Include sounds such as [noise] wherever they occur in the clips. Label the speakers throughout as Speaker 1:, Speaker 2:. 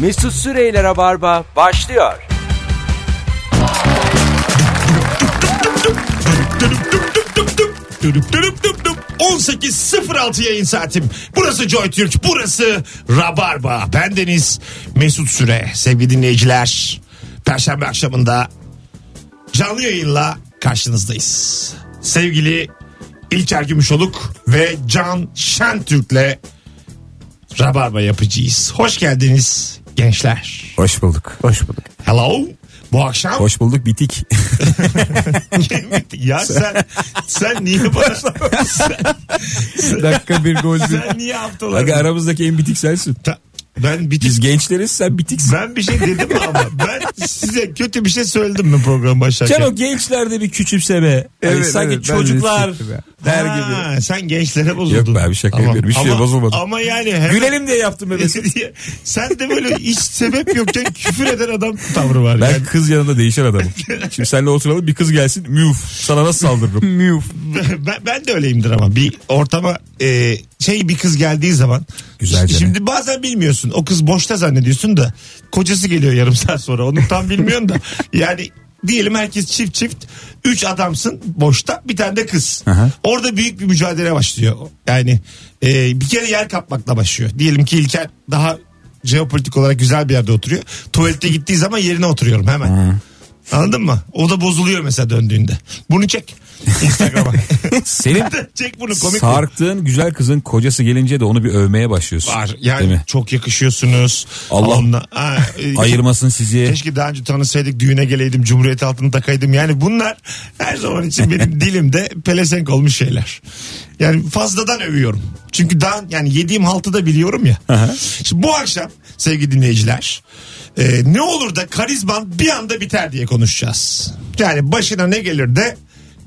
Speaker 1: Mesut Süreyle Rabarba başlıyor.
Speaker 2: Dönüp dönüp dönüp dönüp. 18.06 yayın saatim. Burası Joy Türk, burası Rabarba. Bendeniz Mesut Süre. Sevgili dinleyiciler, Perşembe akşamında canlı yayınla karşınızdayız. Sevgili İlker Gümüşoluk ve Can Şentürk'le Rabarba yapacağız. Hoş geldiniz gençler.
Speaker 3: Hoş bulduk. Hoş bulduk.
Speaker 2: Hello. Bu akşam
Speaker 3: Hoş bulduk bitik.
Speaker 2: ya sen sen niye bana sen,
Speaker 3: Dakika bir gol bir.
Speaker 2: sen niye haftaları
Speaker 3: Aga aramızdaki en bitik sensin.
Speaker 2: Ta- ben bitik
Speaker 3: Biz gençleriz sen bitiksin.
Speaker 2: ben bir şey dedim mi ama ben size kötü bir şey söyledim mi program başlarken?
Speaker 3: Sen o gençlerde bir küçümseme. Evet,
Speaker 4: Evet,
Speaker 3: sanki
Speaker 4: evet, ben de
Speaker 3: çocuklar
Speaker 4: hissettim ya.
Speaker 3: der
Speaker 2: Ha,
Speaker 3: gibi.
Speaker 2: Sen gençlere bozuldun.
Speaker 3: Yok be abi, şaka yapıyorum. Bir şeye
Speaker 2: ama,
Speaker 3: bozulmadım.
Speaker 2: Ama yani hemen- [laughs]
Speaker 3: Gülelim diye yaptım be Mesut.
Speaker 2: sen de böyle hiç sebep yokken küfür eden adam tavrı var.
Speaker 3: Ben
Speaker 2: yani.
Speaker 3: kız yanında değişen adamım. Şimdi seninle oturalım bir kız gelsin müf sana nasıl saldırırım. müf.
Speaker 2: [laughs] ben, ben de öyleyimdir ama bir ortama e, şey bir kız geldiği zaman
Speaker 3: Güzelce
Speaker 2: şimdi bazen bilmiyorsun o kız boşta zannediyorsun da kocası geliyor yarım saat sonra onu tam bilmiyorsun da yani diyelim herkes çift çift üç adamsın boşta bir tane de kız
Speaker 3: Aha.
Speaker 2: orada büyük bir mücadele başlıyor yani e, bir kere yer kapmakla başlıyor diyelim ki İlker daha jeopolitik olarak güzel bir yerde oturuyor tuvalete gittiği zaman yerine oturuyorum hemen Anladın mı? O da bozuluyor mesela döndüğünde. Bunu çek. Instagram'a. [laughs]
Speaker 3: Senin
Speaker 2: çek bunu komik. bu.
Speaker 3: sarktığın güzel kızın kocası gelince de onu bir övmeye başlıyorsun.
Speaker 2: Var.
Speaker 3: Değil
Speaker 2: Yani
Speaker 3: mi?
Speaker 2: çok yakışıyorsunuz.
Speaker 3: Allah
Speaker 2: Onunla- Ha, e,
Speaker 3: Ayırmasın sizi.
Speaker 2: Keşke daha önce tanışsaydık düğüne geleydim cumhuriyet altını takaydım. Yani bunlar her zaman için benim
Speaker 3: [laughs]
Speaker 2: dilimde pelesenk olmuş şeyler. Yani fazladan övüyorum. Çünkü daha yani yediğim haltı da biliyorum ya. Şimdi bu akşam sevgili dinleyiciler e, ne olur da karizman bir anda biter diye konuşacağız. Yani başına ne gelir de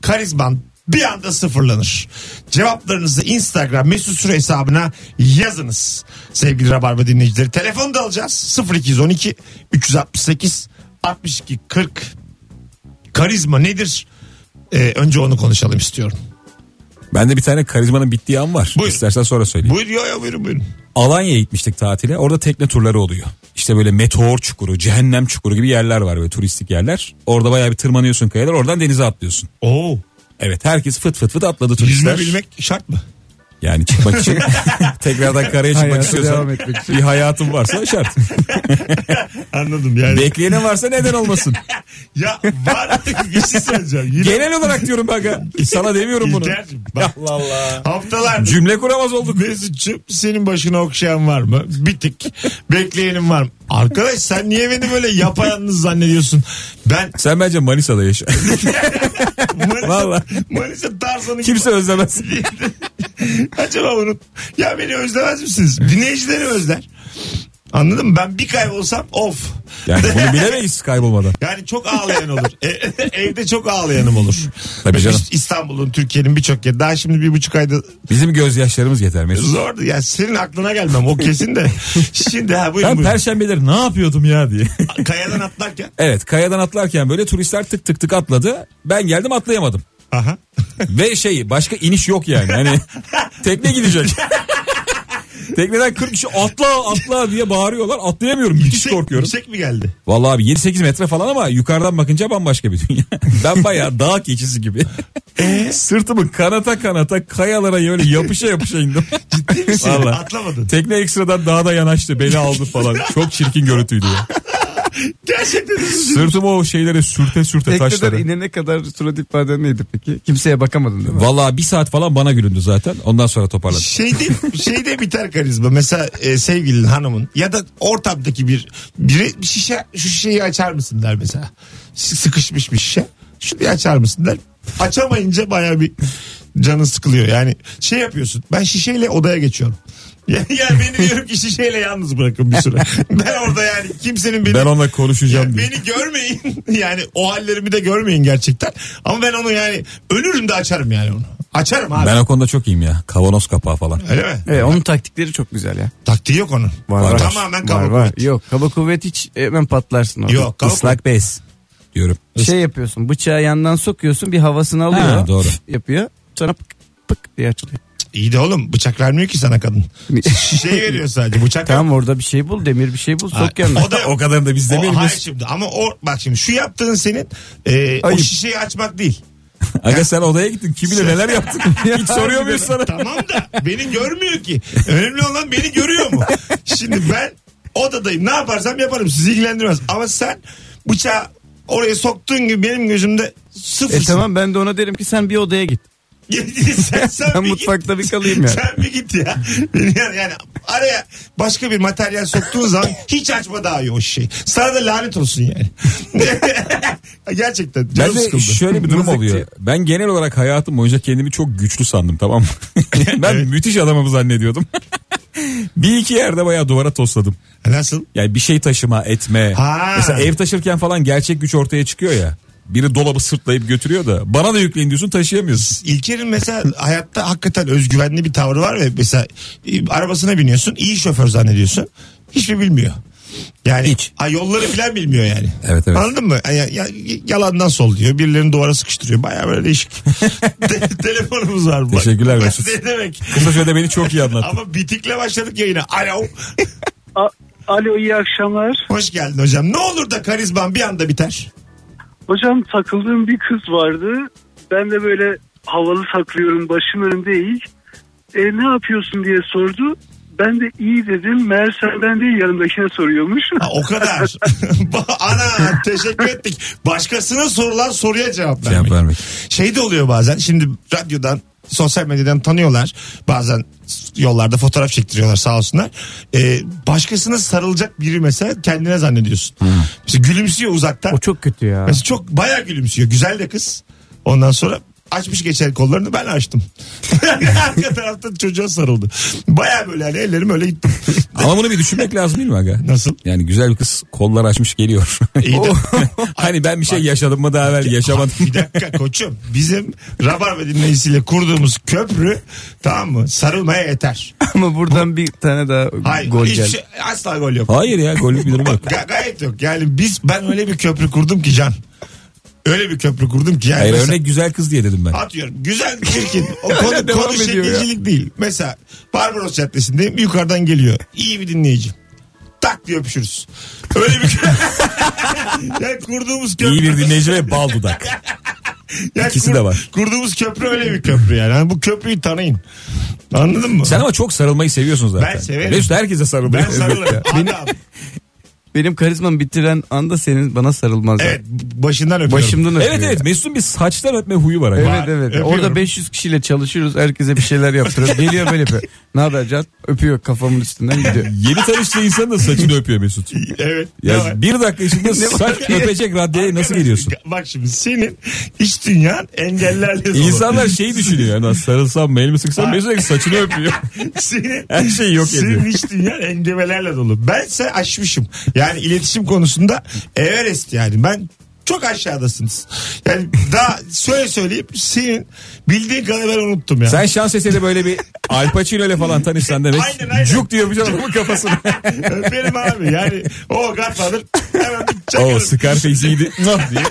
Speaker 2: karizman bir anda sıfırlanır. Cevaplarınızı Instagram mesut süre hesabına yazınız. Sevgili Rabarba dinleyicileri. Telefonu da alacağız. 0212 368 62 40. Karizma nedir? Ee, önce onu konuşalım istiyorum.
Speaker 3: Bende bir tane karizmanın bittiği an var.
Speaker 2: Buyur.
Speaker 3: İstersen sonra söyleyeyim.
Speaker 2: Buyur yo, yo, buyurun buyurun.
Speaker 3: Alanya'ya gitmiştik tatile. Orada tekne turları oluyor. İşte böyle meteor çukuru, cehennem çukuru gibi yerler var böyle turistik yerler. Orada bayağı bir tırmanıyorsun kayalar. Oradan denize atlıyorsun.
Speaker 2: Oo.
Speaker 3: Evet herkes fıt fıt fıt atladı
Speaker 2: Yüzme
Speaker 3: turistler.
Speaker 2: bilmek şart mı?
Speaker 3: Yani çıkmak
Speaker 4: [laughs]
Speaker 3: için tekrardan karaya çıkmak
Speaker 4: Hayata
Speaker 3: istiyorsan
Speaker 4: devam etmek için.
Speaker 3: bir hayatın varsa şart.
Speaker 2: Anladım yani.
Speaker 3: Bekleyene varsa neden olmasın.
Speaker 2: ya var bir şey söyleyeceğim. Yine
Speaker 3: Genel olarak diyorum aga. Sana demiyorum bunu.
Speaker 2: İlker'cim, bak. [laughs]
Speaker 3: Allah Allah.
Speaker 2: haftalardır
Speaker 3: Cümle kuramaz olduk.
Speaker 2: Mesut'cum senin başına okşayan var mı? Bitik. Bekleyenim var mı? Arkadaş sen niye beni böyle yapayalnız zannediyorsun? Ben
Speaker 3: Sen bence Manisa'da yaşa. [laughs]
Speaker 2: Manisa,
Speaker 3: Vallahi.
Speaker 2: Manisa Tarzan'ı
Speaker 3: Kimse özlemez.
Speaker 2: Acaba unut. Ya beni özlemez misiniz? Dinleyicileri özler. Anladın mı? Ben bir kaybolsam of.
Speaker 3: Yani bunu bilemeyiz kaybolmadan.
Speaker 2: [laughs] Yani çok ağlayan olur. E, [laughs] evde çok ağlayanım olur.
Speaker 3: Tabii canım.
Speaker 2: İst- İstanbul'un, Türkiye'nin birçok yeri. Daha şimdi bir buçuk ayda
Speaker 3: Bizim gözyaşlarımız yeter Mesut.
Speaker 2: zordu. Ya senin aklına gelmem o kesin
Speaker 3: [laughs]
Speaker 2: de. Şimdi ha buyurun
Speaker 3: Ben
Speaker 2: buyurun.
Speaker 3: perşembeleri ne yapıyordum ya diye.
Speaker 2: [laughs] Kayadan atlarken.
Speaker 3: Evet kayadan atlarken böyle turistler tık tık tık atladı. Ben geldim atlayamadım.
Speaker 2: Aha.
Speaker 3: Ve şey başka iniş yok yani. Hani tekne gidecek. Tekneden 40 kişi atla atla diye bağırıyorlar. Atlayamıyorum. Müthiş
Speaker 2: Yüksek-
Speaker 3: korkuyorum.
Speaker 2: Yüksek mi geldi?
Speaker 3: Vallahi abi 7-8 metre falan ama yukarıdan bakınca bambaşka bir dünya. [laughs] Ben bayağı dağ keçisi gibi. Sırtımı kanata kanata kayalara böyle yapışa yapışa indim. Vallahi.
Speaker 2: Atlamadın.
Speaker 3: Tekne ekstradan dağda yanaştı beni aldı falan. Çok çirkin görüntüydü ya.
Speaker 2: Gerçekten
Speaker 3: Sırtımı o şeylere sürte sürte
Speaker 4: Tekneden
Speaker 3: taşları.
Speaker 4: inene kadar surat ifaden neydi peki? Kimseye bakamadın değil mi?
Speaker 3: Vallahi bir saat falan bana gülündü zaten. Ondan sonra
Speaker 2: [laughs]
Speaker 3: toparladım.
Speaker 2: şeyde şeyde biter karizma. Mesela e, sevgilin hanımın ya da ortamdaki bir biri bir şişe şu şişeyi açar mısın der mesela. Ş- Sıkışmış bir şişe. Şunu bir açar mısın der. Açamayınca baya bir canın sıkılıyor. Yani şey yapıyorsun. Ben şişeyle odaya geçiyorum. [laughs] Yani, yani beni diyorum ki şişeyle yalnız bırakın bir
Speaker 3: [laughs]
Speaker 2: süre. Ben orada yani kimsenin beni
Speaker 3: Ben onunla konuşacağım
Speaker 2: Ya
Speaker 3: diye.
Speaker 2: Beni görmeyin. [laughs] Yani o hallerimi de görmeyin gerçekten. Ama ben onu yani ölürüm de açarım yani onu. Açarım abi.
Speaker 3: Ben o konuda çok iyiyim ya. Kavanoz kapağı falan.
Speaker 2: Öyle mi?
Speaker 4: Evet, onun taktikleri çok güzel ya.
Speaker 2: Taktiği yok onun.
Speaker 3: var.
Speaker 2: Tamamen kaba
Speaker 4: Var, var. Yok kaba kuvvet hiç e, hemen patlarsın orada.
Speaker 2: Yok kaba kuvvet.
Speaker 3: Islak bez diyorum.
Speaker 4: Şey yapıyorsun bıçağı yandan sokuyorsun bir havasını alıyor.
Speaker 3: Ha, doğru.
Speaker 4: Yapıyor. Sonra pık pık diye açılıyor.
Speaker 2: İyi de oğlum bıçak vermiyor ki sana kadın. Şey veriyor sadece bıçak.
Speaker 4: Tamam orada bir şey bul demir bir şey bul
Speaker 2: Ay,
Speaker 4: sok yanına.
Speaker 2: O da
Speaker 3: o kadar da biz
Speaker 2: O,
Speaker 3: demeyelim.
Speaker 2: hayır
Speaker 3: biz.
Speaker 2: şimdi ama o bak şimdi şu yaptığın senin e, o
Speaker 4: Ayıp.
Speaker 2: şişeyi açmak değil.
Speaker 3: Aga sen odaya gittin. Kim
Speaker 2: Şey-
Speaker 3: bilir
Speaker 2: [laughs]
Speaker 3: neler yaptın. Hiç soruyor muyuz sana?
Speaker 2: tamam da beni görmüyor ki. Önemli olan beni görüyor mu? Şimdi ben odadayım ne yaparsam yaparım sizi ilgilendirmez. Ama sen bıçağı oraya soktuğun gibi benim gözümde
Speaker 4: E
Speaker 2: sıfırsın. [laughs]
Speaker 4: tamam ben de ona derim ki sen bir odaya git.
Speaker 2: sen, sen
Speaker 4: Ben
Speaker 2: bir
Speaker 4: mutfakta
Speaker 2: git.
Speaker 4: bir kalayım ya.
Speaker 2: Sen bir git ya. Yani, yani araya başka bir materyal soktuğun zaman hiç açma daha iyi o şey. Sana da lanet olsun yani. [laughs] Gerçekten canım
Speaker 3: Ben de
Speaker 2: sıkıldı.
Speaker 3: şöyle bir durum
Speaker 4: Mızıkçı.
Speaker 3: oluyor. Ben genel olarak hayatım boyunca kendimi çok güçlü sandım tamam
Speaker 2: [laughs]
Speaker 3: mı? ben müthiş adamımı zannediyordum. [laughs] bir iki yerde bayağı duvara tosladım.
Speaker 2: Nasıl?
Speaker 3: Yani bir şey taşıma etme.
Speaker 2: Ha.
Speaker 3: Mesela ev taşırken falan gerçek güç ortaya çıkıyor ya. Biri dolabı sırtlayıp götürüyor da bana da yükleyin diyorsun taşıyamıyorsun.
Speaker 2: İlker'in mesela hayatta hakikaten özgüvenli bir tavrı var ve mesela e, arabasına biniyorsun iyi şoför zannediyorsun. Hiçbir bilmiyor. Yani
Speaker 3: Hiç.
Speaker 2: Ha, yolları falan bilmiyor yani.
Speaker 3: Evet, evet.
Speaker 2: Anladın mı? Ya- ya- yalandan sol diyor. Birilerini duvara sıkıştırıyor. Baya böyle
Speaker 3: [laughs]
Speaker 2: değişik. Te- telefonumuz var. Bak.
Speaker 3: Teşekkürler Mesut.
Speaker 2: Ne demek?
Speaker 3: Kısa sürede beni çok iyi anlattı.
Speaker 2: Ama bitikle başladık yayına. Alo.
Speaker 5: A- Alo iyi akşamlar.
Speaker 2: Hoş geldin hocam. Ne olur da karizman bir anda biter.
Speaker 5: Hocam takıldığım bir kız vardı. Ben de böyle havalı taklıyorum başım önünde eğik. E, ne yapıyorsun diye sordu. Ben de iyi dedim. Meğerse ben değil yanımdakine soruyormuş.
Speaker 2: Ha, o kadar. [laughs] Ana teşekkür ettik. Başkasına sorulan soruya cevap vermek.
Speaker 3: Cevap vermek.
Speaker 2: Şey de oluyor bazen. Şimdi radyodan sosyal medyadan tanıyorlar. Bazen yollarda fotoğraf çektiriyorlar sağ olsunlar. Ee, başkasına sarılacak biri mesela kendine zannediyorsun. Mesela gülümsüyor uzaktan.
Speaker 4: O çok kötü ya.
Speaker 2: Mesela çok bayağı gülümsüyor. Güzel de kız. Ondan sonra açmış geçer kollarını ben açtım. [laughs] Arka taraftan çocuğa sarıldı. Bayağı böyle hani ellerim öyle gitti.
Speaker 3: Ama bunu bir düşünmek lazım değil mi aga?
Speaker 2: Nasıl?
Speaker 3: Yani güzel bir kız kollar açmış geliyor.
Speaker 2: İyi de-
Speaker 3: [laughs] hani ben bir şey yaşadım mı daha evvel yaşamadım.
Speaker 2: Bir dakika koçum. Bizim Rabarba dinleyicisiyle kurduğumuz köprü tamam mı? Sarılmaya yeter.
Speaker 4: Ama buradan bir tane daha
Speaker 2: Hayır,
Speaker 4: gol
Speaker 2: hiçbir
Speaker 4: geldi.
Speaker 2: şey- asla gol yok.
Speaker 3: Hayır ya gollük bir durum yok.
Speaker 2: Ga- gayet yok. Yani biz ben öyle bir köprü kurdum ki Can. Öyle bir köprü kurdum ki yani.
Speaker 3: Hayır
Speaker 2: mesela-
Speaker 3: örnek güzel kız diye dedim ben.
Speaker 2: Atıyorum. Güzel, çirkin.
Speaker 4: [laughs]
Speaker 2: O konu,
Speaker 4: Devam
Speaker 2: konu
Speaker 4: ediyor ya.
Speaker 2: şekilcilik değil. Mesela Barbaros Caddesi'ndeyim. Yukarıdan geliyor. İyi bir dinleyici. Tak diye öpüşürüz. Öyle bir [laughs] yani kurduğumuz köprü.
Speaker 3: İyi bir dinleyici ve bal dudak.
Speaker 2: yani
Speaker 3: ikisi de var.
Speaker 2: Kurduğumuz köprü öyle bir köprü yani. yani bu köprüyü tanıyın. Anladın mı?
Speaker 3: Sen ama çok sarılmayı seviyorsun zaten.
Speaker 2: Ben severim.
Speaker 3: Mesut herkese sarılıyor.
Speaker 2: ben sarılırım. Adam.
Speaker 4: Benim karizmamı bitiren anda senin bana sarılmaz.
Speaker 2: Evet başından öpüyorum.
Speaker 4: Başımdan öpüyor.
Speaker 3: Evet evet Mesut'un bir saçtan öpme huyu var. aga.
Speaker 4: Evet evet.
Speaker 2: Öpüyorum.
Speaker 4: Orada 500 kişiyle çalışıyoruz. Herkese bir şeyler yaptırıyor. Geliyor böyle yapıyor. Ne haber Can? Öpüyor kafamın
Speaker 3: [laughs]
Speaker 4: üstünden gidiyor.
Speaker 3: Yeni tanıştığı insan da saçını öpüyor
Speaker 2: [laughs]
Speaker 3: Mesut.
Speaker 2: Evet.
Speaker 3: Ya
Speaker 2: ne var?
Speaker 3: bir dakika içinde saç öpecek raddeye nasıl geliyorsun?
Speaker 2: Bak şimdi senin iş dünyan engellerle dolu.
Speaker 3: İnsanlar şey düşünüyor. Yani sarılsam mı elimi sıksam mı? Mesut sürekli saçını öpüyor.
Speaker 2: [laughs] Senin,
Speaker 3: Her şeyi yok ediyor.
Speaker 2: Senin iç dünyan engebelerle dolu. Bense aşmışım. Yani iletişim konusunda Everest yani. Ben çok aşağıdasınız. Yani daha söyle söyleyeyim senin bildiğin kadar ben unuttum ya.
Speaker 3: [laughs] Sen şans eseri böyle bir Al Pacino ile falan tanışsan demek.
Speaker 2: Aynen, aynen.
Speaker 3: Cuk diye yapacaksın adamın [laughs] kafasına.
Speaker 2: Öperim abi yani o Godfather hemen bir
Speaker 3: o
Speaker 2: çakarım.
Speaker 3: Scarface iyiydi. Nah diye.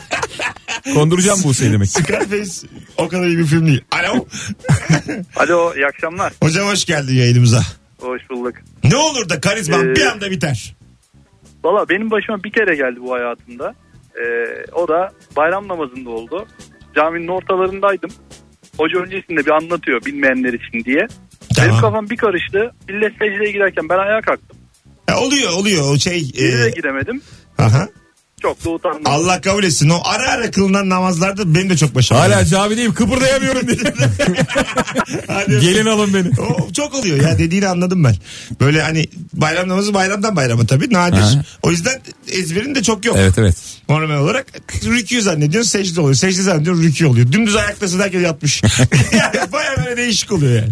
Speaker 3: Konduracağım bu seni demek.
Speaker 2: Scarface o kadar iyi bir film değil. Alo.
Speaker 6: [laughs] Alo iyi akşamlar.
Speaker 2: Hocam hoş geldin yayınımıza.
Speaker 6: Hoş bulduk.
Speaker 2: Ne olur da karizman
Speaker 6: Ee,
Speaker 2: bir anda biter.
Speaker 6: Valla benim başıma bir kere geldi bu hayatımda. Ee, o da bayram namazında oldu. Caminin ortalarındaydım. Hoca öncesinde bir anlatıyor bilmeyenler için diye. Benim
Speaker 2: Tamam.
Speaker 6: kafam bir karıştı. Millet secdeye giderken ben ayağa kalktım.
Speaker 2: Ya oluyor oluyor o şey. e,
Speaker 6: Yine de gidemedim.
Speaker 2: aha.
Speaker 6: Çok da utandım.
Speaker 2: Allah kabul etsin. O ara ara kılınan namazlarda benim de çok başıma.
Speaker 3: Hala
Speaker 2: geldi.
Speaker 3: camideyim kıpırdayamıyorum [laughs] diye.
Speaker 2: Hadi
Speaker 3: [laughs] Gelin alın beni.
Speaker 2: O çok oluyor ya dediğini anladım ben. Böyle hani bayram namazı bayramdan bayrama tabii nadir.
Speaker 3: Aha.
Speaker 2: O yüzden ezberin de çok yok.
Speaker 3: Evet evet.
Speaker 2: Normal olarak rükû zannediyorsun secde oluyor. Secde zannediyorsun rükû oluyor. Dümdüz ayaktasın herkes
Speaker 3: [laughs]
Speaker 2: yatmış. yani baya böyle değişik oluyor yani.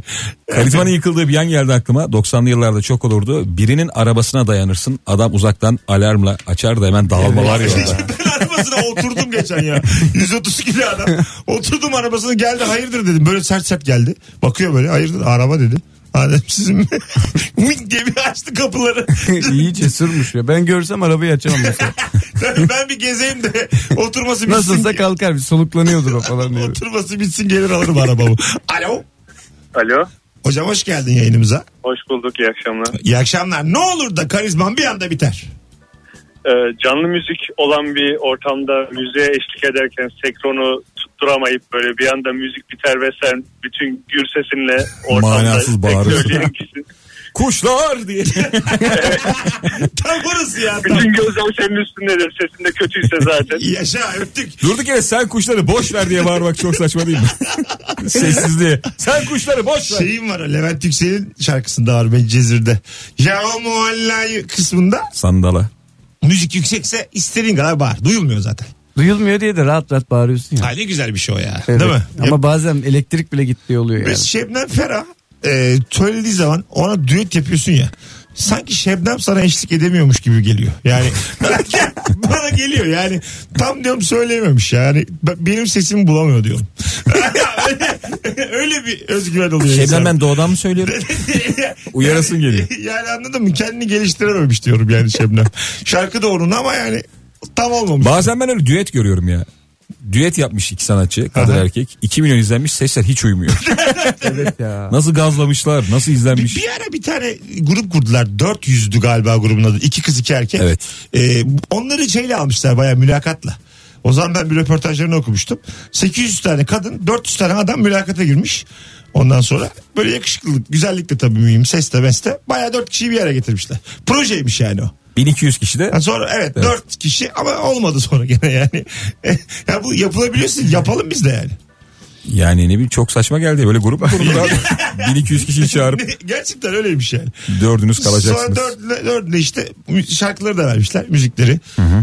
Speaker 3: Karizmanın yıkıldığı bir yan geldi aklıma. 90'lı yıllarda çok olurdu. Birinin arabasına dayanırsın. Adam uzaktan alarmla açar da hemen
Speaker 2: [laughs]
Speaker 3: dağılmalar ya.
Speaker 2: ben arabasına oturdum geçen ya. 130 kilo adam. Oturdum arabasına geldi hayırdır dedim. Böyle sert sert geldi. Bakıyor böyle hayırdır araba dedi. Adem sizin [laughs] mi? Wink diye bir açtı kapıları.
Speaker 4: İyi cesurmuş ya. Ben görsem arabayı açamam mesela.
Speaker 2: ben bir gezeyim de oturması bitsin.
Speaker 4: Nasılsa kalkar bir soluklanıyordur o falan diye.
Speaker 2: Oturması bitsin gelir alırım arabamı. Alo.
Speaker 7: [laughs] Alo.
Speaker 2: Hocam hoş geldin yayınımıza.
Speaker 7: Hoş bulduk. iyi akşamlar.
Speaker 2: İyi akşamlar. Ne olur da karizman bir anda biter.
Speaker 7: Ee, canlı müzik olan bir ortamda müziğe eşlik ederken senkronu tutturamayıp böyle bir anda müzik biter ve sen bütün gür sesinle ortamda
Speaker 3: Manasız bağırıyorsun.
Speaker 7: bekleyen kişi-
Speaker 3: [laughs] Kuşlar diye.
Speaker 2: Tam orası ya. Tam.
Speaker 7: Bütün gözler senin üstündedir. Sesin de kötüyse zaten.
Speaker 2: Yaşa öptük.
Speaker 3: Durduk yere sen kuşları boş ver diye bağırmak çok saçma [laughs] değil mi? Sessizliğe. Sen kuşları boş ver.
Speaker 2: Şeyim var o, Levent Yüksel'in şarkısında var ben Cezir'de. Ya o muhalla kısmında
Speaker 3: Sandala.
Speaker 2: müzik yüksekse istediğin kadar bağır. Duyulmuyor zaten.
Speaker 4: Duyulmuyor diye de rahat rahat bağırıyorsun ya.
Speaker 2: Ha, ne güzel bir şey o ya.
Speaker 4: Evet.
Speaker 2: Değil mi?
Speaker 4: Ama bazen elektrik bile gittiği oluyor yani.
Speaker 2: Biz Şebnem Ferah e, söylediği zaman ona düet yapıyorsun ya. Sanki Şebnem sana eşlik edemiyormuş gibi geliyor. Yani bana geliyor yani tam diyorum söyleyememiş yani Ben- benim sesimi bulamıyor diyorum. [laughs] öyle, öyle bir özgüven oluyor.
Speaker 3: Şeyden
Speaker 2: insan.
Speaker 3: Şey, ben doğudan mı söylüyorum? [laughs] Uyarasın geliyor.
Speaker 2: yani anladın mı kendini geliştirememiş diyorum yani Şebnem. Şarkı da onun ama yani tam olmamış.
Speaker 3: Bazen ben öyle düet görüyorum ya. Düet yapmış iki sanatçı kadın
Speaker 2: Aha.
Speaker 3: erkek. 2 milyon izlenmiş sesler hiç [laughs] uymuyor. [laughs]
Speaker 4: Evet ya.
Speaker 3: Nasıl gazlamışlar nasıl
Speaker 2: bir,
Speaker 3: izlenmiş. [laughs]
Speaker 2: bir ara bir tane grup kurdular. Dört yüzdü galiba grubun adı. İki kız iki erkek.
Speaker 3: Evet.
Speaker 2: Ee, onları şeyle almışlar baya mülakatla. O zaman ben bir röportajlarını okumuştum. 800 tane kadın 400 tane adam mülakata girmiş. Ondan sonra böyle yakışıklılık, güzellik de tabii mühim, ses de beste. Baya dört kişiyi bir yere getirmişler. Projeymiş yani o.
Speaker 3: 1200 kişi de
Speaker 2: Yani sonra evet, dört kişi ama olmadı sonra gene yani. [laughs] ya bu yapılabiliyorsun yapalım biz de yani.
Speaker 3: yani ne bileyim çok saçma geldi. Böyle [laughs] grup mu kurulur abi? 1200 kişiyi
Speaker 2: [laughs]
Speaker 3: çağırıp
Speaker 2: Gerçekten öyleymiş yani.
Speaker 3: dördünüz
Speaker 2: Sonra
Speaker 3: kalacaksınız.
Speaker 2: dörtle, dörtle işte mü- şarkıları da vermişler. Müzikleri,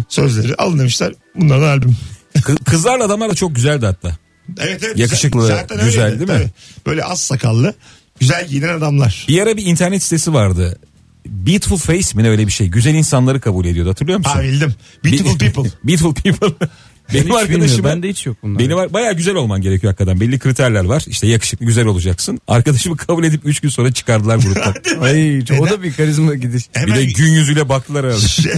Speaker 2: sözleri. Alın demişler. Bunların albüm.
Speaker 3: Kı- Kızlarla adamlar da çok güzeldi hatta.
Speaker 2: Evet evet.
Speaker 3: Yakışıklı,
Speaker 2: Zaten
Speaker 3: güzel
Speaker 2: öyleydi,
Speaker 3: değil mi?
Speaker 2: tabii. Böyle az sakallı, güzel giyinen adamlar.
Speaker 3: Bir ara bir internet sitesi vardı. Beautiful Face mi ne öyle bir şey. Güzel insanları kabul ediyordu hatırlıyor musun?
Speaker 2: Ha bildim. Beautiful people.
Speaker 3: [laughs] Beautiful people.
Speaker 4: Hiç
Speaker 3: [laughs] Benim
Speaker 4: bilmiyorum.
Speaker 3: arkadaşım
Speaker 4: Ben de hiç yok bunlar.
Speaker 3: Beni var bayağı güzel olman gerekiyor hakikaten. Belli kriterler var. İşte yakışıklı güzel olacaksın. Arkadaşımı kabul edip 3 gün sonra çıkardılar gruptan.
Speaker 4: Ay, o da bir karizma gidiş.
Speaker 3: bir
Speaker 2: Hemen
Speaker 3: de gün yüzüyle baktılar herhalde.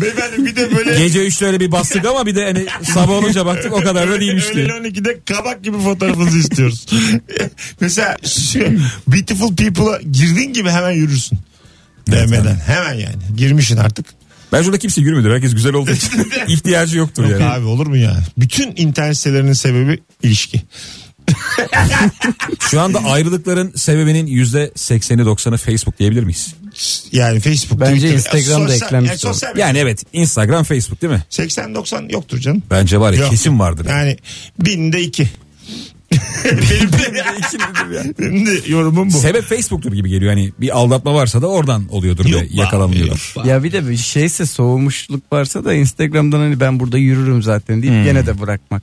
Speaker 2: [laughs] Beyefendi bir de böyle
Speaker 3: Gece 3'te öyle bir bastık ama bir de hani sabah olunca baktık o kadar da değilmiş
Speaker 2: Öğlen
Speaker 3: diye.
Speaker 2: 12'de kabak gibi fotoğrafınızı istiyoruz. [laughs] Mesela şu Beautiful People'a girdiğin gibi hemen yürürsün. Demeden. Hemen yani. Girmişsin artık.
Speaker 3: Ben şurada kimse yürümüyordur. Herkes güzel olduğu için [laughs] ihtiyacı yoktur
Speaker 2: Yok
Speaker 3: yani.
Speaker 2: abi olur mu ya? Bütün internet sitelerinin sebebi ilişki.
Speaker 3: Şu anda ayrılıkların sebebinin %80'i 90'ı Facebook diyebilir miyiz?
Speaker 2: Yani Facebook,
Speaker 4: Bence
Speaker 2: Twitter,
Speaker 4: Instagram'da
Speaker 2: sosyal-
Speaker 4: eklenmiş
Speaker 2: yani sosyal medya.
Speaker 3: Yani evet Instagram Facebook değil mi?
Speaker 2: 80-90 yoktur canım.
Speaker 3: Bence var ya
Speaker 2: Yok.
Speaker 3: kesin vardır. Yani.
Speaker 2: Yani binde iki. benim, de, [laughs] benim de yorumum bu.
Speaker 3: Sebep Facebook'tur gibi geliyor. Hani bir aldatma varsa da oradan oluyordur
Speaker 2: Yok
Speaker 3: ve
Speaker 2: be abi,
Speaker 3: yakalanmıyordur.
Speaker 2: yok be.
Speaker 4: Ya bir de bir şeyse soğumuşluk varsa da Instagram'dan hani ben burada yürürüm zaten deyip gene de bırakmak.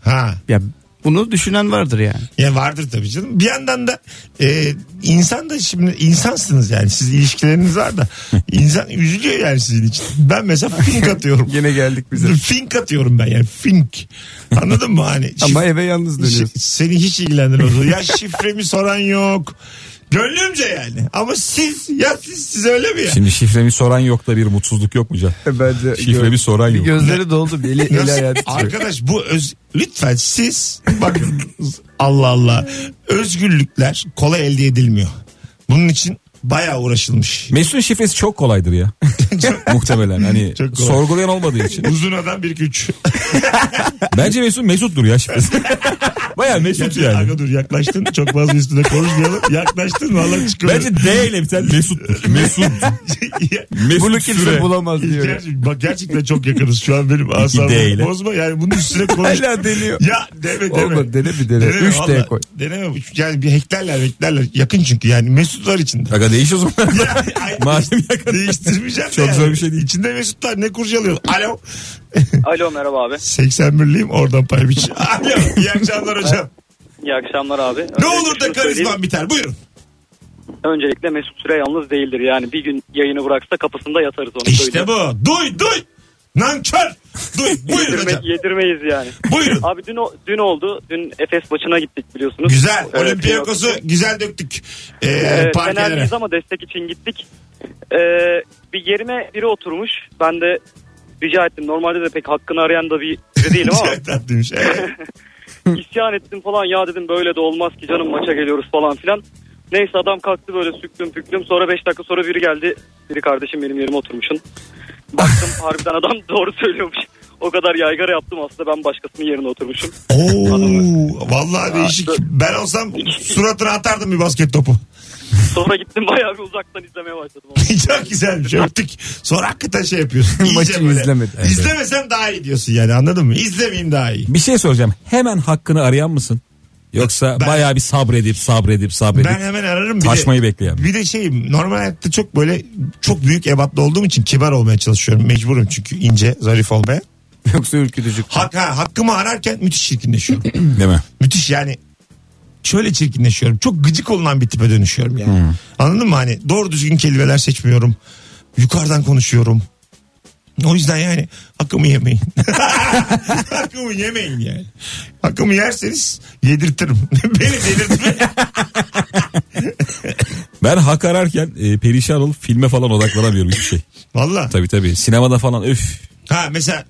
Speaker 2: Ha.
Speaker 4: Ya bunu düşünen vardır yani.
Speaker 2: Ya vardır tabii canım. Bir yandan da e, insan da şimdi insansınız yani. Siz ilişkileriniz var da insan üzülüyor yani sizin için. Ben mesela fink
Speaker 4: [laughs]
Speaker 2: atıyorum.
Speaker 4: Gene geldik bize.
Speaker 2: fink atıyorum ben yani fink. Anladın mı hani?
Speaker 4: Ama eve yalnız dönüyorsun.
Speaker 2: Şi- Seni hiç
Speaker 3: [laughs]
Speaker 2: ilgilendirmez. o. ya şifremi soran yok. Gönlümce yani. Ama siz ya siz, siz öyle mi ya?
Speaker 3: Şimdi şifremi soran yok da bir mutsuzluk yok mu Can?
Speaker 4: E, Bence
Speaker 3: Şifre bir soran
Speaker 4: Bir
Speaker 3: yok.
Speaker 4: gözleri doldu bir eli, eli
Speaker 2: Nasıl-
Speaker 4: ayağı titriyor.
Speaker 2: Arkadaş bu öz, lütfen siz bakın Allah Allah özgürlükler kolay elde edilmiyor. Bunun için bayağı uğraşılmış.
Speaker 3: Mesut'un şifresi çok
Speaker 2: [laughs]
Speaker 3: kolaydır ya. Muhtemelen hani
Speaker 2: Çok kolay.
Speaker 3: sorgulayan olmadığı için.
Speaker 2: Uzun adam bir güç.
Speaker 3: Bence Mesut Mesut'tur ya şifresi. [laughs] Baya [laughs] Mesut yani.
Speaker 2: Aga dur yaklaştın. Çok fazla üstüne konuşmayalım. Yaklaştın vallahi çıkıyor. [laughs]
Speaker 3: Bence D ile biten Mesut'tur. Mesut. Mesut
Speaker 4: Bunu kimse
Speaker 3: Süre.
Speaker 4: bulamaz diyor.
Speaker 2: Gerçi- bak gerçekten çok yakınız. Şu an benim
Speaker 3: değil.
Speaker 2: asabımı bozma. Yani bunun üstüne konuş.
Speaker 4: Hala
Speaker 2: [laughs]
Speaker 4: deniyor.
Speaker 2: Ya deme deme.
Speaker 4: Olmadı dene bir dene.
Speaker 2: Deneme,
Speaker 4: 3
Speaker 2: valla.
Speaker 4: D koy.
Speaker 2: Deneme. Üç- Yani bir hacklerler hacklerler. Yakın çünkü yani Mesutlar
Speaker 3: [laughs]
Speaker 2: içinde.
Speaker 3: Aga değiş o zaman.
Speaker 2: [laughs] Ay,
Speaker 3: Madem yakın.
Speaker 2: Değiştirmeyeceğim. de
Speaker 3: Çok
Speaker 2: yani.
Speaker 3: zor bir şey değil.
Speaker 2: İçinde Mesutlar ne kurcalıyor? Alo.
Speaker 7: Alo merhaba abi.
Speaker 2: 81'liyim oradan pay biç. [laughs] Alo. İyi akşamlar hocam.
Speaker 7: İyi akşamlar abi.
Speaker 2: ne olur da karizman biter. Buyurun.
Speaker 7: Öncelikle Mesut Süre yalnız değildir. Yani bir gün yayını bıraksa kapısında yatarız onu
Speaker 2: İşte bu. Duy duy. Nankör. Duy. Buyurun hocam.
Speaker 7: yedirmeyiz yani.
Speaker 2: Buyurun.
Speaker 7: Abi dün o- dün oldu. Dün Efes maçına gittik biliyorsunuz.
Speaker 2: Güzel.
Speaker 7: Evet,
Speaker 2: Olimpiyakos'u güzel döktük. Ee,
Speaker 7: Evet,
Speaker 2: parkelere.
Speaker 7: Fenerliyiz ama destek için gittik. Ee, bir yerime biri oturmuş. Ben de rica ettim. Normalde de pek hakkını arayan da bir
Speaker 8: biri değilim
Speaker 2: [laughs]
Speaker 8: ama
Speaker 2: Çok tatlıymış. Evet.
Speaker 8: isyan ettim falan ya dedim böyle de olmaz ki canım maça geliyoruz falan filan. Neyse adam kalktı böyle süklüm püklüm sonra 5 dakika sonra biri geldi. Biri kardeşim benim yerime oturmuşsun. Baktım
Speaker 2: [laughs]
Speaker 8: harbiden adam [laughs] doğru söylüyormuş. O kadar yaygara yaptım aslında ben başkasının yerine oturmuşum.
Speaker 2: Oo, vallahi değişik. Ben olsam suratına atardım bir basket topu. [laughs]
Speaker 8: Sonra gittim bayağı bir uzaktan izlemeye başladım.
Speaker 2: Çok güzelmiş öptük. Sonra hakikaten şey
Speaker 4: [laughs]
Speaker 2: yapıyorsun. İyice
Speaker 4: Maçı
Speaker 2: böyle.
Speaker 4: izlemedi. Evet.
Speaker 2: İzlemesem daha iyi diyorsun yani anladın mı? İzlemeyeyim daha iyi.
Speaker 3: Bir şey soracağım. Hemen hakkını arayan mısın? Yoksa
Speaker 2: Ben-
Speaker 3: bayağı bir sabredip sabredip sabredip
Speaker 2: Ben hemen ararım. Bir
Speaker 3: taşmayı
Speaker 2: de,
Speaker 3: bekleyen.
Speaker 2: Bir de şeyim normal hayatta çok böyle çok büyük ebatlı olduğum için kibar olmaya çalışıyorum. Mecburum çünkü ince zarif olmaya.
Speaker 4: Yoksa ürkütücü.
Speaker 2: Hak, ha, hakkımı ararken müthiş çirkinleşiyorum.
Speaker 3: Değil mi?
Speaker 2: müthiş yani şöyle çirkinleşiyorum. Çok gıcık olunan bir tipe dönüşüyorum yani.
Speaker 3: Hmm.
Speaker 2: Anladın mı hani doğru düzgün kelimeler seçmiyorum. Yukarıdan konuşuyorum. O yüzden yani hakkımı
Speaker 3: [laughs]
Speaker 2: yemeyin. hakkımı yemeyin yani. Hakkımı yerseniz yedirtirim. [laughs] Beni delirtmeyin.
Speaker 3: Ben hak ararken e, perişan olup filme falan odaklanamıyorum
Speaker 2: [laughs]
Speaker 3: hiçbir şey.
Speaker 2: Valla.
Speaker 3: Tabii tabii. Sinemada falan öf.
Speaker 2: Ha mesela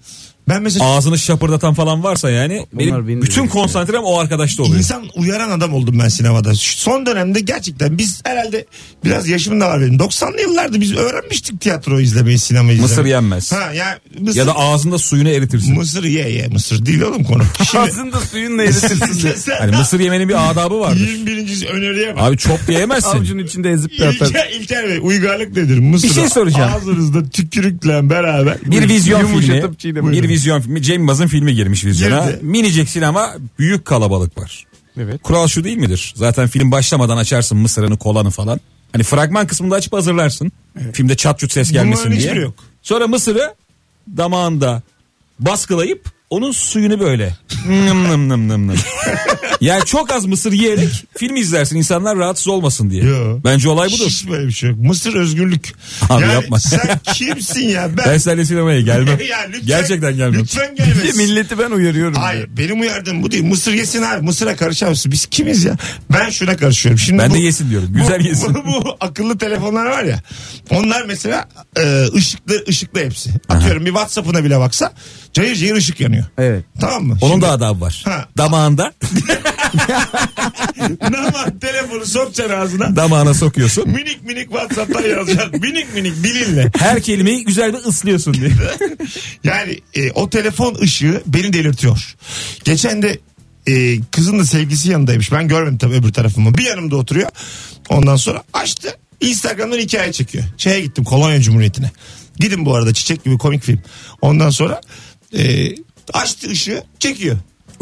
Speaker 2: ben mesela
Speaker 3: Ağzını şapırdatan falan varsa yani
Speaker 4: Onlar
Speaker 3: benim
Speaker 4: beni
Speaker 3: bütün
Speaker 4: direkt-
Speaker 3: konsantrem o arkadaşta oluyor.
Speaker 2: İnsan uyaran adam oldum ben sinemada. Şu Son dönemde gerçekten biz herhalde biraz yaşım da var benim. 90'lı yıllarda biz öğrenmiştik tiyatro izlemeyi, sinemayı izlemeyi.
Speaker 3: Mısır yenmez.
Speaker 2: Ha, ya, mısır,
Speaker 3: Ya da ağzında suyunu eritirsin.
Speaker 2: Mısır ye ye mısır değil oğlum
Speaker 3: [laughs]
Speaker 2: konu. Şimdi,
Speaker 4: Ağzında suyunla eritirsin diye.
Speaker 2: sen, sen
Speaker 3: Hani
Speaker 2: daha
Speaker 3: mısır yemenin bir
Speaker 2: [laughs]
Speaker 3: adabı vardır.
Speaker 2: 21. öneriye bak.
Speaker 3: Abi çok yiyemezsin.
Speaker 4: Avucun içinde ezip de atar.
Speaker 2: İlker, İlker Bey uygarlık nedir? Mısır
Speaker 3: Bir şey soracağım.
Speaker 2: Ağzınızda tükürükle beraber.
Speaker 3: Bir vizyon
Speaker 4: Yumuşatıp
Speaker 3: filmi.
Speaker 4: çiğnemek.
Speaker 3: Bir vizyon filmi. Cem Yılmaz'ın filmi girmiş vizyona.
Speaker 2: Girdi.
Speaker 3: Minicek sinema büyük kalabalık var.
Speaker 4: Evet.
Speaker 3: Kural şu değil midir? Zaten film başlamadan açarsın mısırını kolanı falan. Hani fragman kısmında açıp hazırlarsın. Filmde çat çut ses gelmesin
Speaker 2: Bunların
Speaker 3: diye.
Speaker 2: hiçbiri yok.
Speaker 3: Sonra mısırı damağında baskılayıp onun suyunu böyle nım nım nım nım
Speaker 2: [laughs]
Speaker 3: nım. yani çok az mısır yiyerek filmi izlersin insanlar rahatsız olmasın diye.
Speaker 2: Yo.
Speaker 3: Bence olay budur.
Speaker 2: Hiç böyle bir şey yok. Mısır özgürlük.
Speaker 3: Abi yapma.
Speaker 2: Sen kimsin ya? Ben,
Speaker 3: Ben seninle sinemaya gelmem.
Speaker 2: [laughs] Ya lütfen-
Speaker 3: Gerçekten gelmem.
Speaker 2: Lütfen gelmesin.
Speaker 4: Bir de milleti ben uyarıyorum. diyor.
Speaker 2: Hayır benim uyardığım bu değil. Mısır yesin abi. Mısır'a karışamazsın. Biz kimiz ya? Ben şuna karışıyorum. Şimdi
Speaker 3: Ben
Speaker 2: bu-
Speaker 3: de yesin diyorum. Güzel
Speaker 2: bu,
Speaker 3: yesin.
Speaker 2: Bu, [laughs] bu akıllı telefonlar var ya. Onlar mesela e, ışıklı ışıklı hepsi. Atıyorum bir WhatsApp'ına bile baksa cayır cayır ışık yanıyor.
Speaker 4: Evet.
Speaker 2: Tamam mı?
Speaker 3: Onun
Speaker 2: Şimdi-
Speaker 3: da adabı var.
Speaker 2: Ha.
Speaker 3: Damağında
Speaker 2: [laughs] Ama telefonu sokacaksın ağzına.
Speaker 3: damağına sokuyorsun.
Speaker 2: Minik minik WhatsApp'tan yazacaksın. minik minik dilinle.
Speaker 3: Her kelimeyi güzel bir ıslıyorsun diye.
Speaker 2: [laughs] Yani e, o telefon ışığı beni delirtiyor. Geçen de e, kızın da sevgisi yanındaymış. Ben görmedim tabii öbür tarafımı. Bir yanımda oturuyor. Ondan sonra açtı. Instagram'dan hikaye çekiyor. Şeye gittim Kolonya Cumhuriyeti'ne. Gidin bu arada çiçek gibi komik film. Ondan sonra e, açtı ışığı çekiyor.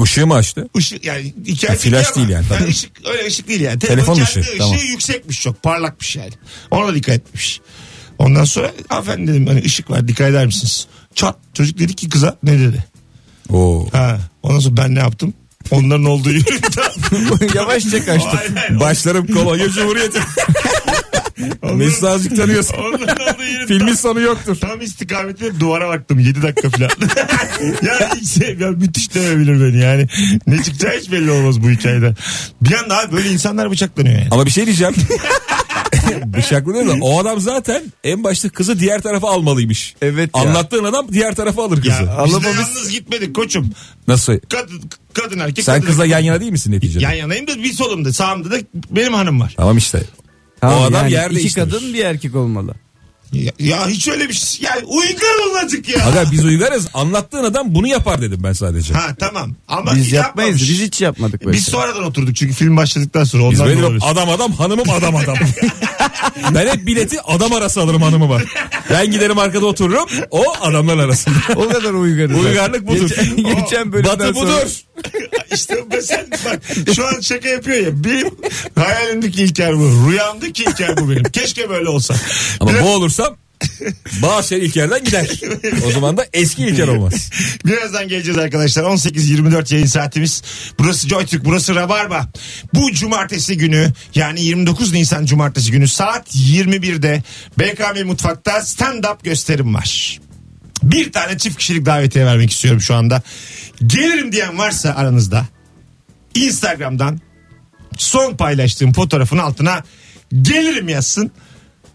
Speaker 3: Işığı mı açtı?
Speaker 2: Işık yani hikaye
Speaker 3: Ha, flash
Speaker 2: ama-
Speaker 3: değil yani, tabii.
Speaker 2: ışık, öyle ışık değil yani.
Speaker 3: Telefon
Speaker 2: kendi
Speaker 3: ışığı, tamam.
Speaker 2: yüksekmiş çok parlakmış yani. Ona dikkat etmiş. Ondan sonra hanımefendi dedim hani ışık var dikkat eder misiniz? Çat çocuk dedi ki kıza ne dedi?
Speaker 3: Oo.
Speaker 2: Ha. Ondan sonra ben ne yaptım? Onların olduğu [laughs] yürüyüşte.
Speaker 4: Yavaşça kaçtım.
Speaker 2: Hayır, hayır.
Speaker 3: Başlarım kolonya cumhuriyeti.
Speaker 2: Onların-
Speaker 3: Mesut
Speaker 2: [laughs]
Speaker 3: Azıcık tanıyorsun.
Speaker 2: Onların olduğu
Speaker 3: [laughs]
Speaker 2: yeri
Speaker 3: Filmin
Speaker 2: tam-
Speaker 3: sonu yoktur.
Speaker 2: Tam istikamette duvara baktım 7 dakika falan. [laughs] ya, hiç şey, ya müthiş demebilir beni yani. Ne çıkacağı hiç belli olmaz bu hikayeden. Bir anda abi böyle insanlar bıçaklanıyor yani.
Speaker 3: Ama bir şey diyeceğim. Bıçaklı değil mi? O adam zaten en başta kızı diğer tarafa almalıymış.
Speaker 4: Evet ya.
Speaker 3: Anlattığın adam diğer tarafa alır kızı.
Speaker 2: Ya biz de
Speaker 4: Alamamış-
Speaker 2: yalnız gitmedik koçum.
Speaker 3: Nasıl?
Speaker 2: Kadın, kadın erkek.
Speaker 3: Sen
Speaker 2: kadın
Speaker 3: kızla
Speaker 2: erkek.
Speaker 3: yan yana değil misin neticede?
Speaker 2: Yan yanayım da bir solumda sağımda da benim hanım var.
Speaker 3: Tamam işte.
Speaker 4: Tamam,
Speaker 3: o adam
Speaker 4: yani
Speaker 3: yer
Speaker 4: İki
Speaker 3: değiştirir.
Speaker 4: kadın bir erkek olmalı.
Speaker 2: Ya, ya hiç öyle bir şey. Ya uygar olacak ya.
Speaker 3: Aga biz uygarız. Anlattığın adam bunu yapar dedim ben sadece.
Speaker 2: Ha tamam. Ama
Speaker 4: Biz yapmayız.
Speaker 2: yapmamış.
Speaker 4: Biz hiç yapmadık böyle.
Speaker 2: Biz sonradan oturduk çünkü film başladıktan sonra
Speaker 3: Biz
Speaker 2: ondan
Speaker 3: böyle
Speaker 2: dolayı.
Speaker 3: adam adam hanımım adam [laughs] adam. ben hep bileti adam arası alırım hanımı var. Ben giderim arkada otururum. O adamlar arasında. [laughs]
Speaker 4: O kadar uygarız.
Speaker 3: Uygarlık budur. [laughs]
Speaker 4: Geçen, geçen bölümden
Speaker 3: Batı
Speaker 4: sonra-
Speaker 3: budur.
Speaker 2: [laughs] işte ben sen bak şu an şaka yapıyor ya. Benim hayalimdeki İlker bu. Rüyamdaki İlker bu benim. Keşke böyle olsa.
Speaker 3: Ama
Speaker 2: Biraz-
Speaker 3: bu olursam Bahçeli İlker'den gider. O zaman da eski İlker olmaz.
Speaker 2: [laughs] Birazdan geleceğiz arkadaşlar. 18.24 yayın saatimiz. Burası Joytürk, burası Rabarba. Bu cumartesi günü yani 29 Nisan cumartesi günü saat 21'de BKM Mutfak'ta stand-up gösterim var. Bir tane çift kişilik davetiye vermek istiyorum şu anda. Gelirim diyen varsa aranızda Instagram'dan son paylaştığım fotoğrafın altına gelirim yazsın.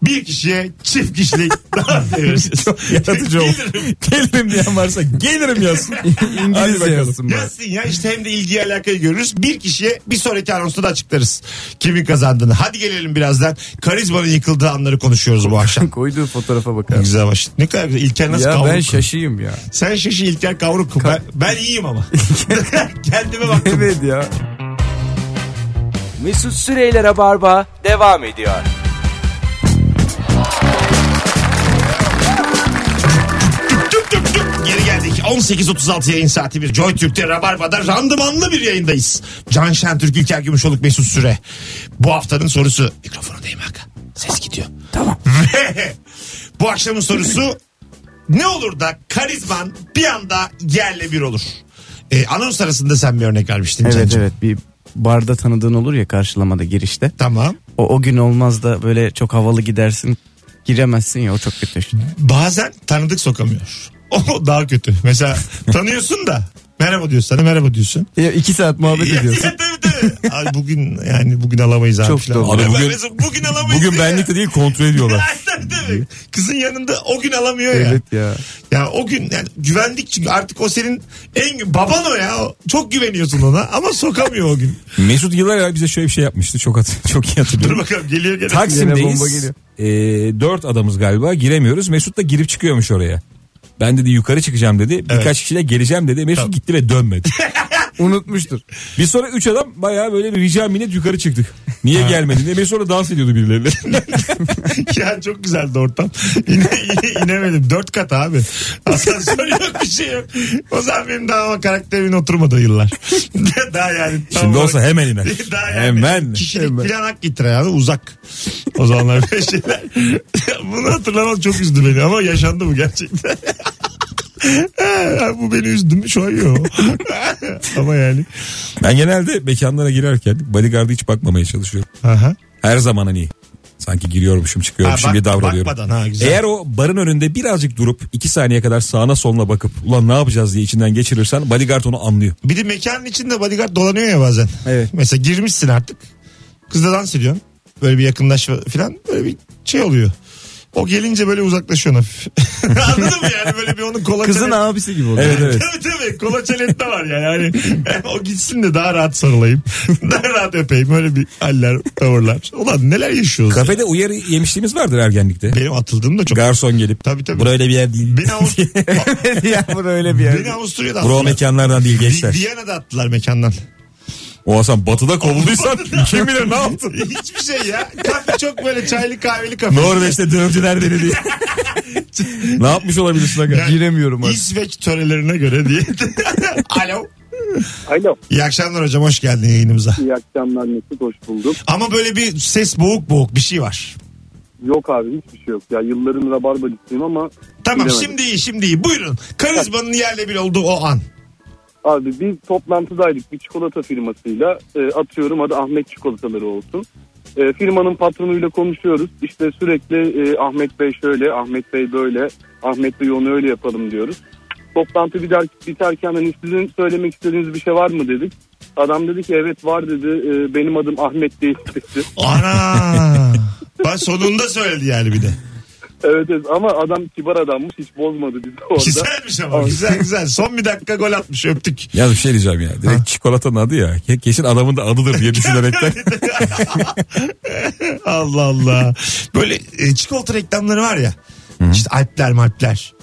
Speaker 2: bir kişiye çift kişilik [laughs] davet verirsiniz.
Speaker 3: Çok yaratıcı ol.
Speaker 2: Gelirim.
Speaker 3: [laughs] Gelirim diyen varsa gelirim [laughs] yazsın. Hadi
Speaker 4: İngilizce
Speaker 3: bakalım.
Speaker 4: yazsın bana.
Speaker 2: Yazsın ya işte hem de ilgi alakayı görürüz. Bir kişiye bir sonraki anonsta da açıklarız kimin kazandığını. Hadi gelelim birazdan. Karizmanın yıkıldığı anları konuşuyoruz bu
Speaker 4: [laughs]
Speaker 2: akşam.
Speaker 4: [laughs] Koyduğu fotoğrafa bakar. mısın?
Speaker 2: Güzel başladı. Ne kadar güzel. İlker nasıl
Speaker 4: Ya
Speaker 2: kavruk?
Speaker 4: ben şey- şaşıyım [laughs] ya.
Speaker 2: Sen şaşı İlker kavruk. Ben, ben iyiyim
Speaker 4: [laughs]
Speaker 2: ama. [laughs] Kendime baktım.
Speaker 4: Evet ya.
Speaker 1: Mesut Süreyler'e barba devam ediyor.
Speaker 2: Tüp tüp tüp. Geri geldik. 18.36 yayın saatimiz. Joy Türk'te Rabarba'da randımanlı bir yayındayız. Can Şentürk, İlker Gümüşoluk, Mesut Süre. Bu haftanın sorusu. Mikrofonu değme Hakan. Ses gidiyor. Tamam. [laughs] bu akşamın sorusu ne olur da karizman bir anda yerle bir olur. Ee, anons arasında sen bir örnek vermiştin.
Speaker 4: Evet
Speaker 2: Cancığım.
Speaker 4: evet bir barda tanıdığın olur ya karşılamada girişte.
Speaker 2: Tamam.
Speaker 4: O, o gün olmaz da böyle çok havalı gidersin. Giremezsin ya o çok kötü.
Speaker 2: Bazen tanıdık sokamıyor. [laughs] O daha kötü. Mesela tanıyorsun da merhaba diyor sana merhaba diyorsun.
Speaker 4: Ya iki saat muhabbet ediyorsun.
Speaker 2: Ya, tabii, tabii. Abi bugün yani bugün alamayız abi.
Speaker 4: Çok
Speaker 2: falan.
Speaker 4: doğru.
Speaker 3: Abi
Speaker 2: Ben
Speaker 3: bugün-
Speaker 2: mesela bugün alamayız.
Speaker 3: Bugün
Speaker 2: diyor ya.
Speaker 3: benlik de değil
Speaker 2: [laughs]
Speaker 3: kontrol ediyorlar.
Speaker 2: Tabii, tabii. Kızın yanında o gün alamıyor ya.
Speaker 4: Evet ya.
Speaker 2: Ya o gün yani güvendik çünkü artık o senin en gü- baban o ya. O- Çok güveniyorsun ona ama sokamıyor o gün.
Speaker 3: Mesut yıllar evvel bize şöyle bir şey yapmıştı. Çok hat- [laughs] çok iyi
Speaker 2: Dur
Speaker 3: hatırlıyorum.
Speaker 2: bakalım geliyor gene.
Speaker 4: Yine
Speaker 3: Taksim'deyiz.
Speaker 4: bomba geliyor.
Speaker 3: Ee, dört adamız galiba giremiyoruz. Mesut da girip çıkıyormuş oraya. Ben dedi yukarı çıkacağım dedi. Birkaç kişiyle geleceğim dedi. Mesut gitti ve dönmedi.
Speaker 4: Unutmuştur.
Speaker 3: Bir sonra üç adam bayağı böyle bir rica minnet yukarı çıktık. Niye gelmedin diye. Mesut sonra dans ediyordu birileriyle.
Speaker 2: [laughs] ya çok güzeldi ortam. İne, inemedim. Dört kat abi. Asansör yok bir şey yok. O zaman benim daha ama karakterimin oturmadı yıllar. [laughs] daha yani. tam
Speaker 3: Şimdi
Speaker 2: olarak-
Speaker 3: olsa hemen iner.
Speaker 2: [laughs] Daha yani
Speaker 3: [laughs] hemen.
Speaker 2: Kişilik falan hak getire yani uzak. O zamanlar
Speaker 3: [laughs]
Speaker 2: böyle şeyler. Bunu hatırlamam çok üzdü beni ama yaşandı bu gerçekten. Ha, bu beni üzdü mü şu an
Speaker 3: [laughs]
Speaker 2: yok. ama yani.
Speaker 3: Ben genelde mekanlara girerken bodyguard'a hiç bakmamaya çalışıyorum.
Speaker 2: Aha.
Speaker 3: Her zaman hani sanki giriyormuşum çıkıyormuşum
Speaker 2: Ha,
Speaker 3: gibi
Speaker 2: bak-
Speaker 3: davranıyorum.
Speaker 2: bakmadan, ha, güzel.
Speaker 3: Eğer o barın önünde birazcık durup iki saniye kadar sağına soluna bakıp ulan ne yapacağız diye içinden geçirirsen bodyguard onu anlıyor.
Speaker 2: Bir de mekanın içinde bodyguard dolanıyor ya bazen.
Speaker 4: Evet.
Speaker 2: Mesela girmişsin artık. Kızla dans ediyorsun. Böyle bir yakınlaş falan. Böyle bir şey oluyor. O gelince böyle uzaklaşıyorsun hafif. [laughs] Anladın mı yani böyle bir onun kola
Speaker 4: Kızın
Speaker 2: çene-
Speaker 4: abisi gibi oldu.
Speaker 3: Evet evet.
Speaker 2: Tabii tabii kola çelette var yani. Hani, [laughs] o gitsin de daha rahat sarılayım. [laughs] daha rahat öpeyim. Öyle bir haller tavırlar. Ulan neler yaşıyoruz. ya.
Speaker 3: Kafede uyarı yemişliğimiz vardır ergenlikte.
Speaker 2: Benim atıldığım da çok.
Speaker 3: Garson gelip
Speaker 2: Tabii, tabii.
Speaker 3: "Bura öyle bir yer değil.
Speaker 2: Beni,
Speaker 3: [laughs]
Speaker 2: Avust-
Speaker 4: [laughs] ya bu da öyle bir yer.
Speaker 2: beni Avusturya'da
Speaker 3: Bro
Speaker 2: attılar.
Speaker 3: mekanlardan değil
Speaker 2: Vi-
Speaker 3: gençler.
Speaker 2: Viyana'da attılar mekandan. [laughs]
Speaker 3: O Hasan batıda kovulduysan kim bilir ne yaptın.
Speaker 2: Hiçbir şey ya. Kafe çok böyle çaylı kahveli kafe.
Speaker 3: Norveç'te dövdüler beni diye. ne yapmış olabilirsin aga?
Speaker 4: Giremiyorum artık.
Speaker 2: İsveç törelerine göre diye. [laughs] Alo.
Speaker 5: Alo.
Speaker 2: İyi akşamlar hocam hoş geldin yayınımıza.
Speaker 5: İyi akşamlar Mesut hoş bulduk.
Speaker 2: Ama böyle bir ses boğuk boğuk bir şey var.
Speaker 5: Yok abi hiçbir şey yok. Ya yılların rabarbacısıyım ama
Speaker 2: Tamam
Speaker 5: Bilemedim.
Speaker 2: şimdi iyi şimdi iyi. Buyurun. Karizmanın yerle bir olduğu o an.
Speaker 5: Abi bir toplantıdaydık bir çikolata firmasıyla E, atıyorum adı Ahmet çikolataları olsun. E, firmanın patronuyla konuşuyoruz. İşte sürekli e, Ahmet Bey şöyle, Ahmet Bey böyle, Ahmet Bey onu öyle yapalım diyoruz. Toplantı biter, biterken hani sizin söylemek istediğiniz bir şey var mı dedik. Adam dedi ki evet var dedi. E, benim adım Ahmet değil dedi.
Speaker 2: Ana. ben sonunda söyledi yani bir de.
Speaker 5: evet, evet ama adam kibar adammış hiç bozmadı bizi orada.
Speaker 2: Güzelmiş ama güzel güzel. Son bir dakika gol atmış öptük. [laughs]
Speaker 3: Ya bir şey diyeceğim ya. Direkt çikolatanın adı ya. Ke- Kesin adamın da adıdır diye düşünerekten.
Speaker 2: Allah Allah. Böyle e, çikolata reklamları var ya. İşte Alpler Malpler.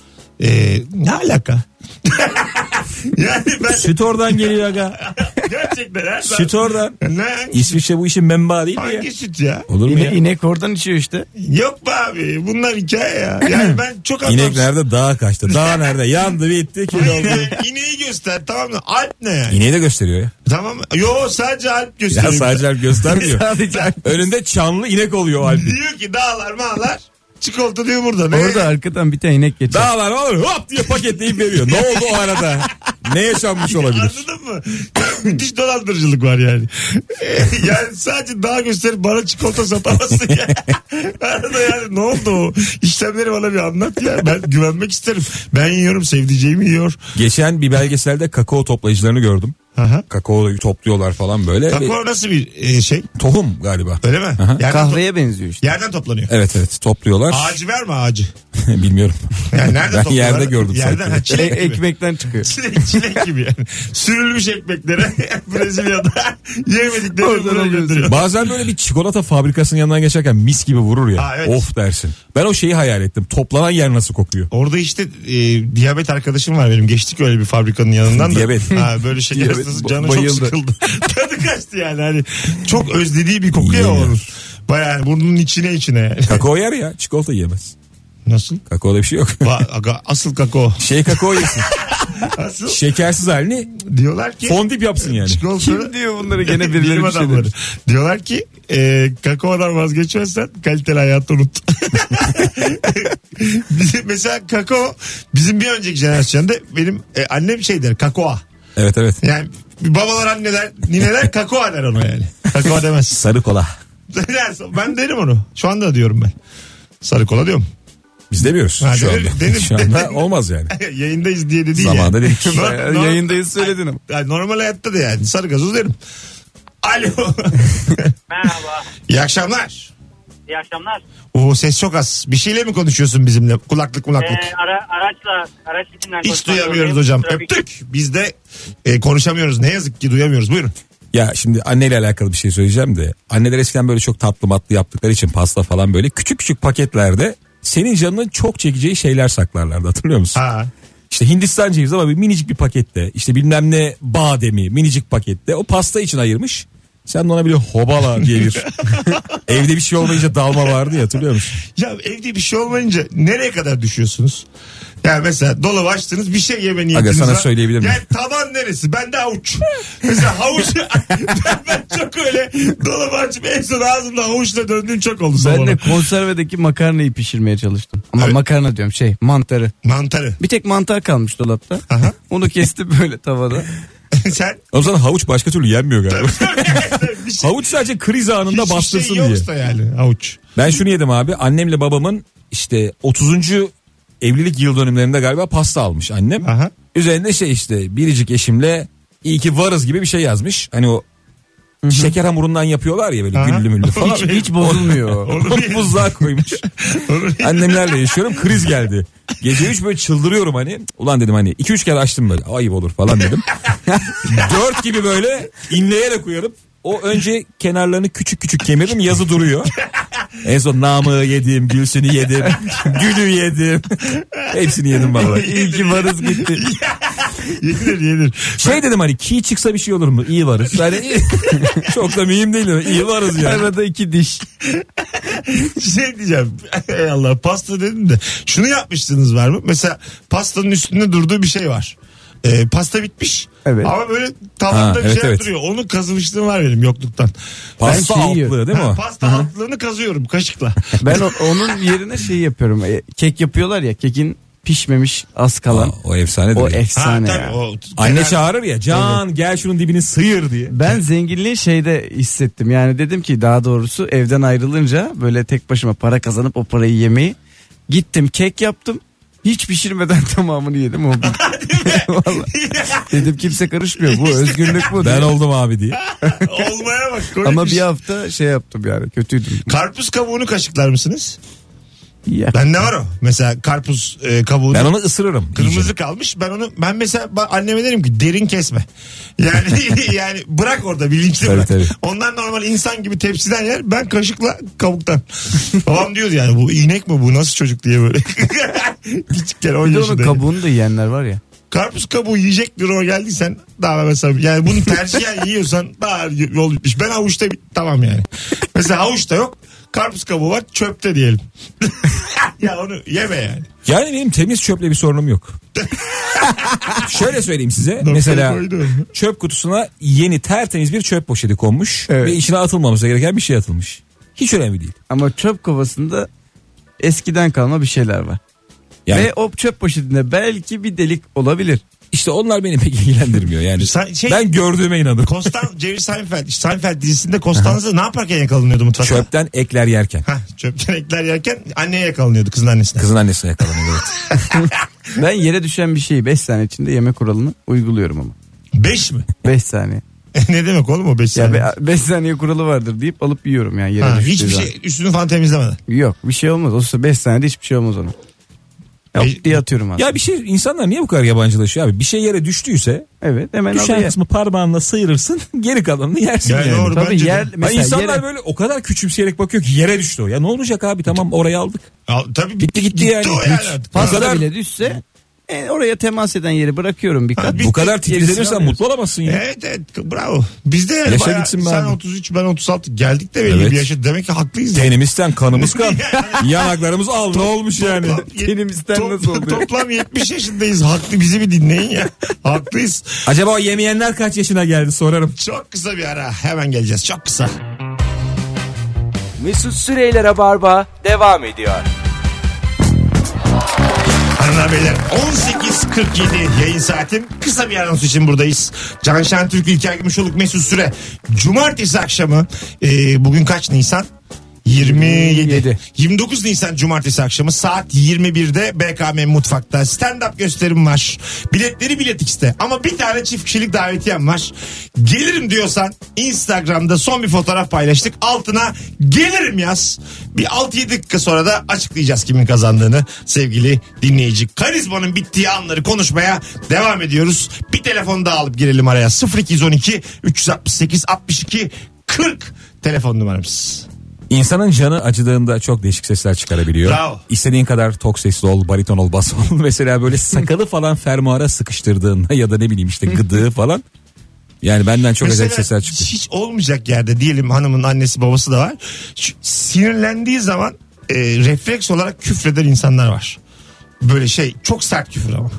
Speaker 2: E, ne alaka? [laughs] yani ben
Speaker 3: Süt oradan geliyor aga.
Speaker 2: gerçekten her zaman-
Speaker 3: Süt oradan.
Speaker 2: Ne?
Speaker 3: İsviçre bu işin menbaı değil mi ya?
Speaker 2: Hangi süt ya?
Speaker 3: Olur mu ya?
Speaker 4: İne, inek oradan içiyor işte.
Speaker 2: Yok be abi bunlar hikaye
Speaker 3: [clears throat]
Speaker 2: ya. Yani ben çok
Speaker 3: İnek
Speaker 2: anlamsız.
Speaker 3: nerede? Dağa kaçtı. Dağ nerede? Yandı bitti kül
Speaker 2: [laughs]
Speaker 3: oldu.
Speaker 2: Yani İneği göster tamam mı? Alp ne yani?
Speaker 3: İneği de gösteriyor ya.
Speaker 2: Tamam mı? Yo sadece Alp
Speaker 3: Ya
Speaker 2: gösteriyor.
Speaker 3: sadece Alp göstermiyor.
Speaker 4: Sadece
Speaker 3: Önünde çanlı inek oluyor o Alp'in.
Speaker 2: Diyor ki dağlar mağlar. Çikolata diyor burada. Ne?
Speaker 4: orada arkadan bir tane inek geçer.
Speaker 3: Dağlar olur hop diye paketleyip veriyor. Ne oldu o arada? Ne yaşanmış olabilir?
Speaker 2: Anladın mı? [coughs] Müthiş dolandırıcılık var yani. [laughs] yani sadece dağ gösterip bana çikolata satamazsın
Speaker 3: [laughs]
Speaker 2: ya. Arada yani ne oldu o? İşlemleri bana bir anlat ya. Ben güvenmek isterim. Ben yiyorum sevdiceğim yiyor.
Speaker 3: Geçen bir belgeselde kakao toplayıcılarını gördüm.
Speaker 2: Aha.
Speaker 3: Kakaoyu topluyorlar falan böyle.
Speaker 2: Kakao nasıl bir e, şey?
Speaker 3: Ve Tohum galiba.
Speaker 2: Öyle mi?
Speaker 3: Aha.
Speaker 2: Yerden,
Speaker 4: Kahveye benziyor [laughs] işte.
Speaker 2: yerden toplanıyor.
Speaker 3: Evet evet topluyorlar.
Speaker 2: Ağacı ver mi ağacı?
Speaker 3: [laughs] Bilmiyorum. [laughs]
Speaker 2: Yani nerede
Speaker 3: ben
Speaker 2: topluyorlar?
Speaker 3: yerde gördüm
Speaker 2: Yerden
Speaker 3: sanki.
Speaker 2: ha,
Speaker 4: E-
Speaker 2: çilek gibi.
Speaker 4: ekmekten çıkıyor.
Speaker 2: Çilek, çilek gibi yani. Sürülmüş ekmeklere [laughs] Brezilya'da [laughs] yemediklerini
Speaker 4: Oradan
Speaker 2: buraya
Speaker 4: alıyorsun.
Speaker 2: gönderiyor.
Speaker 3: Bazen böyle bir çikolata fabrikasının yanından geçerken mis gibi vurur ya.
Speaker 2: Ha, evet.
Speaker 3: Of dersin. Ben o şeyi hayal ettim. Toplanan yer nasıl kokuyor?
Speaker 2: Orada işte e, diyabet arkadaşım var benim. Geçtik öyle bir fabrikanın yanından da.
Speaker 3: Diyabet.
Speaker 2: Ha, böyle şeker
Speaker 4: Diyabet,
Speaker 2: hastası
Speaker 4: ba-
Speaker 2: canı çok
Speaker 4: bayıldı.
Speaker 2: sıkıldı. [laughs] Tadı kaçtı yani. Hani çok özlediği bir koku ya
Speaker 3: Yiyemiyor.
Speaker 2: onun. Baya yani burnunun içine içine yani.
Speaker 3: Kakao yer ya. Çikolata yiyemez.
Speaker 2: [laughs] Nasıl?
Speaker 3: Kakaoda bir şey yok. [laughs]
Speaker 2: Va- aga- Asıl kakao.
Speaker 3: Şey kakao yesin.
Speaker 2: Asıl
Speaker 3: Şekersiz halini
Speaker 2: diyorlar ki.
Speaker 3: fondip yapsın yani.
Speaker 2: Çikolata.
Speaker 4: Kim diyor bunları
Speaker 2: [laughs]
Speaker 4: gene
Speaker 2: Bilim
Speaker 4: birileri bir şey
Speaker 2: adamları.
Speaker 4: demiş.
Speaker 2: Diyorlar ki e, kakaodan vazgeçmezsen kaliteli hayatı unut. [laughs] bizim, mesela kakao bizim bir önceki jenerasyonda benim e, annem şey der kakao.
Speaker 3: Evet evet.
Speaker 2: Yani babalar anneler nineler kakao der ona yani. Kakao demez. [laughs]
Speaker 3: Sarı kola.
Speaker 2: ben derim onu. Şu anda diyorum ben. Sarı kola diyorum. [laughs]
Speaker 3: Biz demiyoruz
Speaker 2: Ha,
Speaker 3: şu
Speaker 2: denir-
Speaker 3: anda.
Speaker 2: denir-
Speaker 3: şu anda
Speaker 2: [laughs] denir.
Speaker 3: olmaz yani.
Speaker 2: Yayındayız diye de değil
Speaker 3: Zamanında
Speaker 2: yani. [laughs]
Speaker 3: dedik.
Speaker 2: Nor-
Speaker 4: Bayağı
Speaker 2: nor-
Speaker 4: Yayındayız Ee, söyledin ama.
Speaker 2: Yani normal hayatta da yani. Sarı gazoz derim. Alo. [laughs]
Speaker 9: Merhaba,
Speaker 2: İyi akşamlar.
Speaker 9: iyi akşamlar.
Speaker 2: Oo ses çok az. Bir şeyle mi konuşuyorsun bizimle? Kulaklık
Speaker 9: Ee,
Speaker 2: kulaklık.
Speaker 9: ara, araçla, araç içinden
Speaker 2: Hiç
Speaker 9: konuşmak
Speaker 2: duyamıyoruz
Speaker 9: zorundayım.
Speaker 2: hocam.
Speaker 9: Trafik-
Speaker 2: Öptük. Biz de e, konuşamıyoruz. Ne yazık ki duyamıyoruz. Buyurun.
Speaker 3: Ya şimdi anneyle alakalı bir şey söyleyeceğim de. Anneler eskiden böyle çok tatlı matlı yaptıkları için pasta falan böyle küçük küçük paketlerde senin canının çok çekeceği şeyler saklarlardı hatırlıyor musun?
Speaker 2: Ha.
Speaker 3: İşte Hindistan cevizi ama bir minicik bir pakette. işte bilmem ne bademi minicik pakette. O pasta için ayırmış. Sen de ona bile hobala diye
Speaker 2: [laughs]
Speaker 3: bir evde bir şey olmayınca dalma vardı ya hatırlıyor musun?
Speaker 2: Ya evde bir şey olmayınca nereye kadar düşüyorsunuz? Yani mesela dolabı açtınız bir şey yeme niyetiniz
Speaker 3: sana
Speaker 2: var.
Speaker 3: söyleyebilir miyim?
Speaker 2: Yani taban neresi? Ben de havuç. mesela havuç.
Speaker 3: [laughs]
Speaker 2: ben çok öyle dolabı açıp en son ağzımda havuçla döndüğüm çok oldu.
Speaker 4: Ben
Speaker 2: sabah.
Speaker 4: de konservedeki makarnayı pişirmeye çalıştım. Ama
Speaker 2: Evet.
Speaker 4: makarna diyorum şey mantarı.
Speaker 2: Mantarı. [laughs]
Speaker 4: Bir tek mantar kalmış dolapta.
Speaker 2: Aha.
Speaker 4: Onu kesti böyle tavada.
Speaker 2: Sen
Speaker 3: Oğlum sana havuç başka türlü yenmiyor galiba.
Speaker 2: bir şey,
Speaker 3: havuç sadece kriz anında
Speaker 2: hiçbir
Speaker 3: bastırsın
Speaker 2: şey
Speaker 3: diye.
Speaker 2: yoksa yani havuç. [laughs]
Speaker 3: Ben şunu yedim abi. Annemle babamın işte 30. evlilik yıl dönümlerinde galiba pasta almış annem.
Speaker 2: Aha.
Speaker 3: Üzerinde şey işte biricik eşimle iyi ki varız gibi bir şey yazmış. Hani o şeker hamurundan yapıyorlar ya böyle
Speaker 2: Aha.
Speaker 3: güllü müllü falan.
Speaker 2: Hiç-
Speaker 4: Hiç
Speaker 3: [laughs]
Speaker 4: bozulmuyor.
Speaker 2: Onu bir-
Speaker 3: Buzluğa koymuş.
Speaker 2: onu bir-
Speaker 3: Annemlerle yaşıyorum kriz geldi. Gece 3 böyle çıldırıyorum hani. Ulan dedim hani 2-3 kere açtım böyle ayıp olur falan dedim. [laughs] 4 gibi böyle inleyerek uyarıp o önce kenarlarını küçük küçük kemirdim yazı duruyor. En son namı yedim, gülsünü yedim, gülü yedim. Hepsini yedim vallahi.
Speaker 4: İyi ki varız gitti.
Speaker 2: yenir yenir.
Speaker 3: Şey dedim hani ki çıksa bir şey olur mu? İyi varız. Yani [laughs] çok da mühim değil de iyi varız yani.
Speaker 4: Arada iki diş.
Speaker 2: [laughs] şey diyeceğim. Ey Allah pasta dedim de şunu yapmıştınız var mı? Mesela pastanın üstünde durduğu bir şey var. Ee, pasta bitmiş.
Speaker 4: Evet.
Speaker 2: Ama böyle tavanda
Speaker 3: Ha,
Speaker 2: bir
Speaker 3: evet,
Speaker 2: şeyler
Speaker 3: evet.
Speaker 2: duruyor. Onu kazımışlığım var benim yokluktan. şey-
Speaker 3: Pasta
Speaker 4: şeyi
Speaker 3: altlığı
Speaker 4: yiyorum.
Speaker 3: değil mi
Speaker 2: Ha,
Speaker 3: o?
Speaker 2: pasta altlığını kazıyorum
Speaker 4: [laughs]
Speaker 2: kaşıkla.
Speaker 4: Ben o- onun yerine şey yapıyorum. E, Kek yapıyorlar ya kekin pişmemiş az kalan.
Speaker 3: Aa, o efsanedir.
Speaker 4: o
Speaker 3: ya.
Speaker 2: ha,
Speaker 4: efsane
Speaker 2: tabii,
Speaker 4: ya.
Speaker 2: o,
Speaker 3: Anne
Speaker 2: Fener-
Speaker 3: çağırır ya Can gel şunun dibini sıyır diye.
Speaker 4: Ben zenginliği şeyde hissettim. Yani dedim ki daha doğrusu evden ayrılınca böyle tek başıma para kazanıp o parayı yemeyi gittim kek yaptım. Hiç pişirmeden [laughs] tamamını yedim. O [laughs]
Speaker 2: [laughs]
Speaker 4: Vallahi. Dedim kimse karışmıyor. Bu özgürlük bu.
Speaker 3: Ben
Speaker 4: diye.
Speaker 3: oldum
Speaker 2: [laughs]
Speaker 3: abi diye.
Speaker 2: [laughs] Olmaya bak. koymuş.
Speaker 4: Ama bir hafta şey yaptım yani kötüydüm.
Speaker 2: Karpuz kabuğunu kaşıklar mısınız?
Speaker 4: Ya.
Speaker 2: Bende var o. Mesela karpuz e, kabuğunu.
Speaker 3: Ben onu ısırırım.
Speaker 2: Kırmızı kalmış. Ben onu ben mesela ba- anneme derim ki derin kesme. [laughs] Yani yani bırak orada bilinçli
Speaker 3: Tabii,
Speaker 2: bırak.
Speaker 3: tabii.
Speaker 2: Onlar normal insan gibi tepsiden yer. Ben kaşıkla kabuktan. [laughs] Babam diyordu yani bu inek mi bu nasıl çocuk diye böyle. [laughs] Küçükken 10
Speaker 4: Bir de onun
Speaker 2: yaşında.
Speaker 4: kabuğunu da yiyenler var ya.
Speaker 2: Karpuz kabuğu yiyecek duruma geldiysen daha mesela yani bunu
Speaker 4: [laughs]
Speaker 2: tercihen yiyorsan daha yol bitmiş. Ben havuçta bit- tamam yani. Mesela havuçta yok. Karpuz kabuğu var çöpte diyelim. [laughs] ya onu yeme yani.
Speaker 3: Yani benim temiz çöple bir
Speaker 2: [laughs]
Speaker 3: sorunum yok. Şöyle söyleyeyim size.
Speaker 2: Noktayı
Speaker 3: Mesela
Speaker 2: koydum.
Speaker 3: çöp kutusuna yeni tertemiz bir çöp poşeti konmuş
Speaker 4: Evet.
Speaker 3: ve içine atılmaması gereken bir şey atılmış. Hiç önemli değil.
Speaker 4: Ama çöp kovasında eskiden kalma bir şeyler var.
Speaker 3: Yani
Speaker 4: Ve o çöp poşetinde belki bir delik olabilir.
Speaker 3: işte onlar beni pek ilgilendirmiyor yani.
Speaker 2: Sen- şey-
Speaker 3: ben gördüğüme inanırım.
Speaker 2: Kostan, Jerry Seinfeld. Seinfeld dizisinde Costanza ne yaparken yakalanıyordu mutfakta?
Speaker 3: Çöpten ekler yerken.
Speaker 2: Hah, çöpten ekler yerken anneye yakalanıyordu kızın annesine.
Speaker 3: Kızın
Speaker 2: [laughs]
Speaker 3: annesine yakalanıyor. evet.
Speaker 4: Ben yere düşen bir şeyi 5 saniye içinde yeme kuralını uyguluyorum ama.
Speaker 2: Beş mi? [laughs]
Speaker 4: 5 saniye.
Speaker 2: ne demek oğlum o beş saniye?
Speaker 4: Ya 5 saniye kuralı vardır deyip alıp yiyorum yani yere
Speaker 2: Ha,
Speaker 4: düştüğü
Speaker 2: hiçbir
Speaker 4: zaman.
Speaker 2: şey üstünü falan temizlemeden.
Speaker 4: Yok bir şey olmaz. Olsa 5 saniyede hiçbir şey olmaz ona.
Speaker 2: Beş-
Speaker 4: Yok diye atıyorum abi.
Speaker 3: Ya bir şey insanlar niye bu kadar yabancılaşıyor abi? Bir şey yere düştüyse
Speaker 4: Evet hemen al
Speaker 3: düşen
Speaker 4: ye.
Speaker 3: kısmı parmağınla sıyırırsın [laughs] geri kalanını yersin
Speaker 2: Yani
Speaker 3: yani.
Speaker 2: şey- doğru
Speaker 4: Tabii
Speaker 2: bence de.
Speaker 4: yer
Speaker 3: Ya
Speaker 4: mesela
Speaker 3: insanlar
Speaker 4: yere-
Speaker 3: böyle o kadar küçümseyerek bakıyor ki yere düştü o. Ya ne olacak abi tamam oraya aldık.
Speaker 2: Al, tabii
Speaker 3: Gitti gitti yani.
Speaker 2: o yani. artık.
Speaker 3: Fazla
Speaker 2: Ha,
Speaker 4: Fazla
Speaker 3: kadar-
Speaker 4: bile düşse e, oraya temas eden yeri bırakıyorum bir kat.
Speaker 3: Bu kadar
Speaker 4: Gerisini
Speaker 3: titizlenirsen
Speaker 4: alıyoruz.
Speaker 3: mutlu olamazsın ya.
Speaker 2: Evet evet bravo. Biz de yani
Speaker 3: Yaşa
Speaker 2: bayağı-
Speaker 3: gitsin be
Speaker 2: sen
Speaker 3: abi.
Speaker 2: 33 ben 36 geldik de belli
Speaker 3: Evet.
Speaker 2: bir yaşa. Demek ki haklıyız. yani.
Speaker 3: Tenimizden
Speaker 2: [laughs]
Speaker 3: kanımız [laughs] kan. Yanaklarımız al ne olmuş yani.
Speaker 2: Toplam- [laughs]
Speaker 4: Tenimizden nasıl oldu?
Speaker 2: Toplam 70 yaşındayız. Haklı bizi bir dinleyin
Speaker 3: [laughs]
Speaker 2: ya. Haklıyız.
Speaker 3: [laughs] Acaba o yemeyenler kaç yaşına geldi sorarım.
Speaker 2: Çok kısa bir ara. Hemen geleceğiz. Çok kısa.
Speaker 1: Mesut Süreyler'e barba devam ediyor.
Speaker 2: Hanımlar beyler 18.47 yayın saatim. Kısa bir anons için buradayız. Can Şentürk, İlker Gümüşoluk, Mesut Süre. Cumartesi akşamı e, bugün kaç Nisan? 27. 29 Nisan Cumartesi akşamı saat 21'de BKM Mutfak'ta stand-up gösterim var. Biletleri Bilet X'te ama bir tane çift kişilik davetiyem var. Gelirim diyorsan Instagram'da son bir fotoğraf paylaştık. Altına gelirim yaz. Bir 6-7 dakika sonra da açıklayacağız kimin kazandığını sevgili dinleyici. Karizmanın bittiği anları konuşmaya devam ediyoruz. Bir telefon daha alıp girelim araya. 0212 368 62 40 telefon numaramız.
Speaker 3: İnsanın canı acıdığında çok değişik sesler çıkarabiliyor.
Speaker 2: Bravo.
Speaker 3: İstediğin kadar tok sesli ol, bariton ol, [laughs] bas ol. Mesela böyle sakalı falan fermuara sıkıştırdığında ya da ne bileyim işte gıdığı falan. Yani benden çok acayip sesler çıktı.
Speaker 2: Hiç olmayacak yerde diyelim hanımın annesi babası da var. Şu sinirlendiği zaman e, refleks olarak küfreden insanlar var. Böyle şey çok sert küfür
Speaker 3: [laughs]
Speaker 2: ama.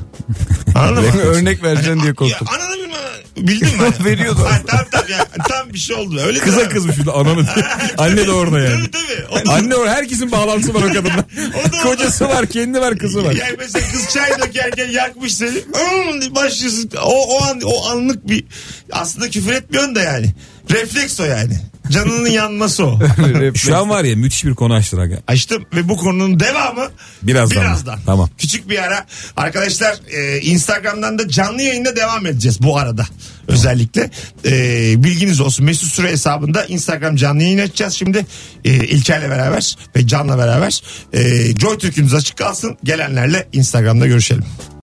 Speaker 2: Anladın mı? Hani,
Speaker 4: Örnek vereceğim diye korktum.
Speaker 2: Ya, ananı bilmem. Bildin mi?
Speaker 3: [laughs]
Speaker 2: Hani?
Speaker 4: Veriyordu.
Speaker 2: Ha, tam, tam, ya, tam bir şey oldu. Öyle
Speaker 3: [laughs] Kıza
Speaker 2: değil mi?
Speaker 3: kızmış bir de ananı. [laughs] Anne de orada yani.
Speaker 2: Tabii tabii. O da-
Speaker 3: [laughs] Anne var herkesin bağlantısı var o kadınla.
Speaker 2: [laughs] O da-
Speaker 3: Kocası var kendi var kızı var.
Speaker 2: Yani mesela kız çay dökerken yakmış seni. "Am" diye Başlıyorsun. O, o, an, o anlık bir aslında küfür etmiyorsun da yani. Refleks o yani. Canının yanması
Speaker 3: [laughs]
Speaker 2: o.
Speaker 3: Şu an var ya müthiş bir konu açtın aga.
Speaker 2: Açtım ve bu konunun devamı
Speaker 3: Birazdan mı?
Speaker 2: birazdan.
Speaker 3: Tamam.
Speaker 2: Küçük bir ara. Arkadaşlar e, Instagram'dan da canlı yayında devam edeceğiz bu arada. Özellikle E, bilginiz olsun. Mesut Süre hesabında Instagram canlı yayın açacağız şimdi. E, İlker'le beraber ve Can'la beraber. E, Joy Türk'ünüz açık kalsın. Gelenlerle Instagram'da görüşelim.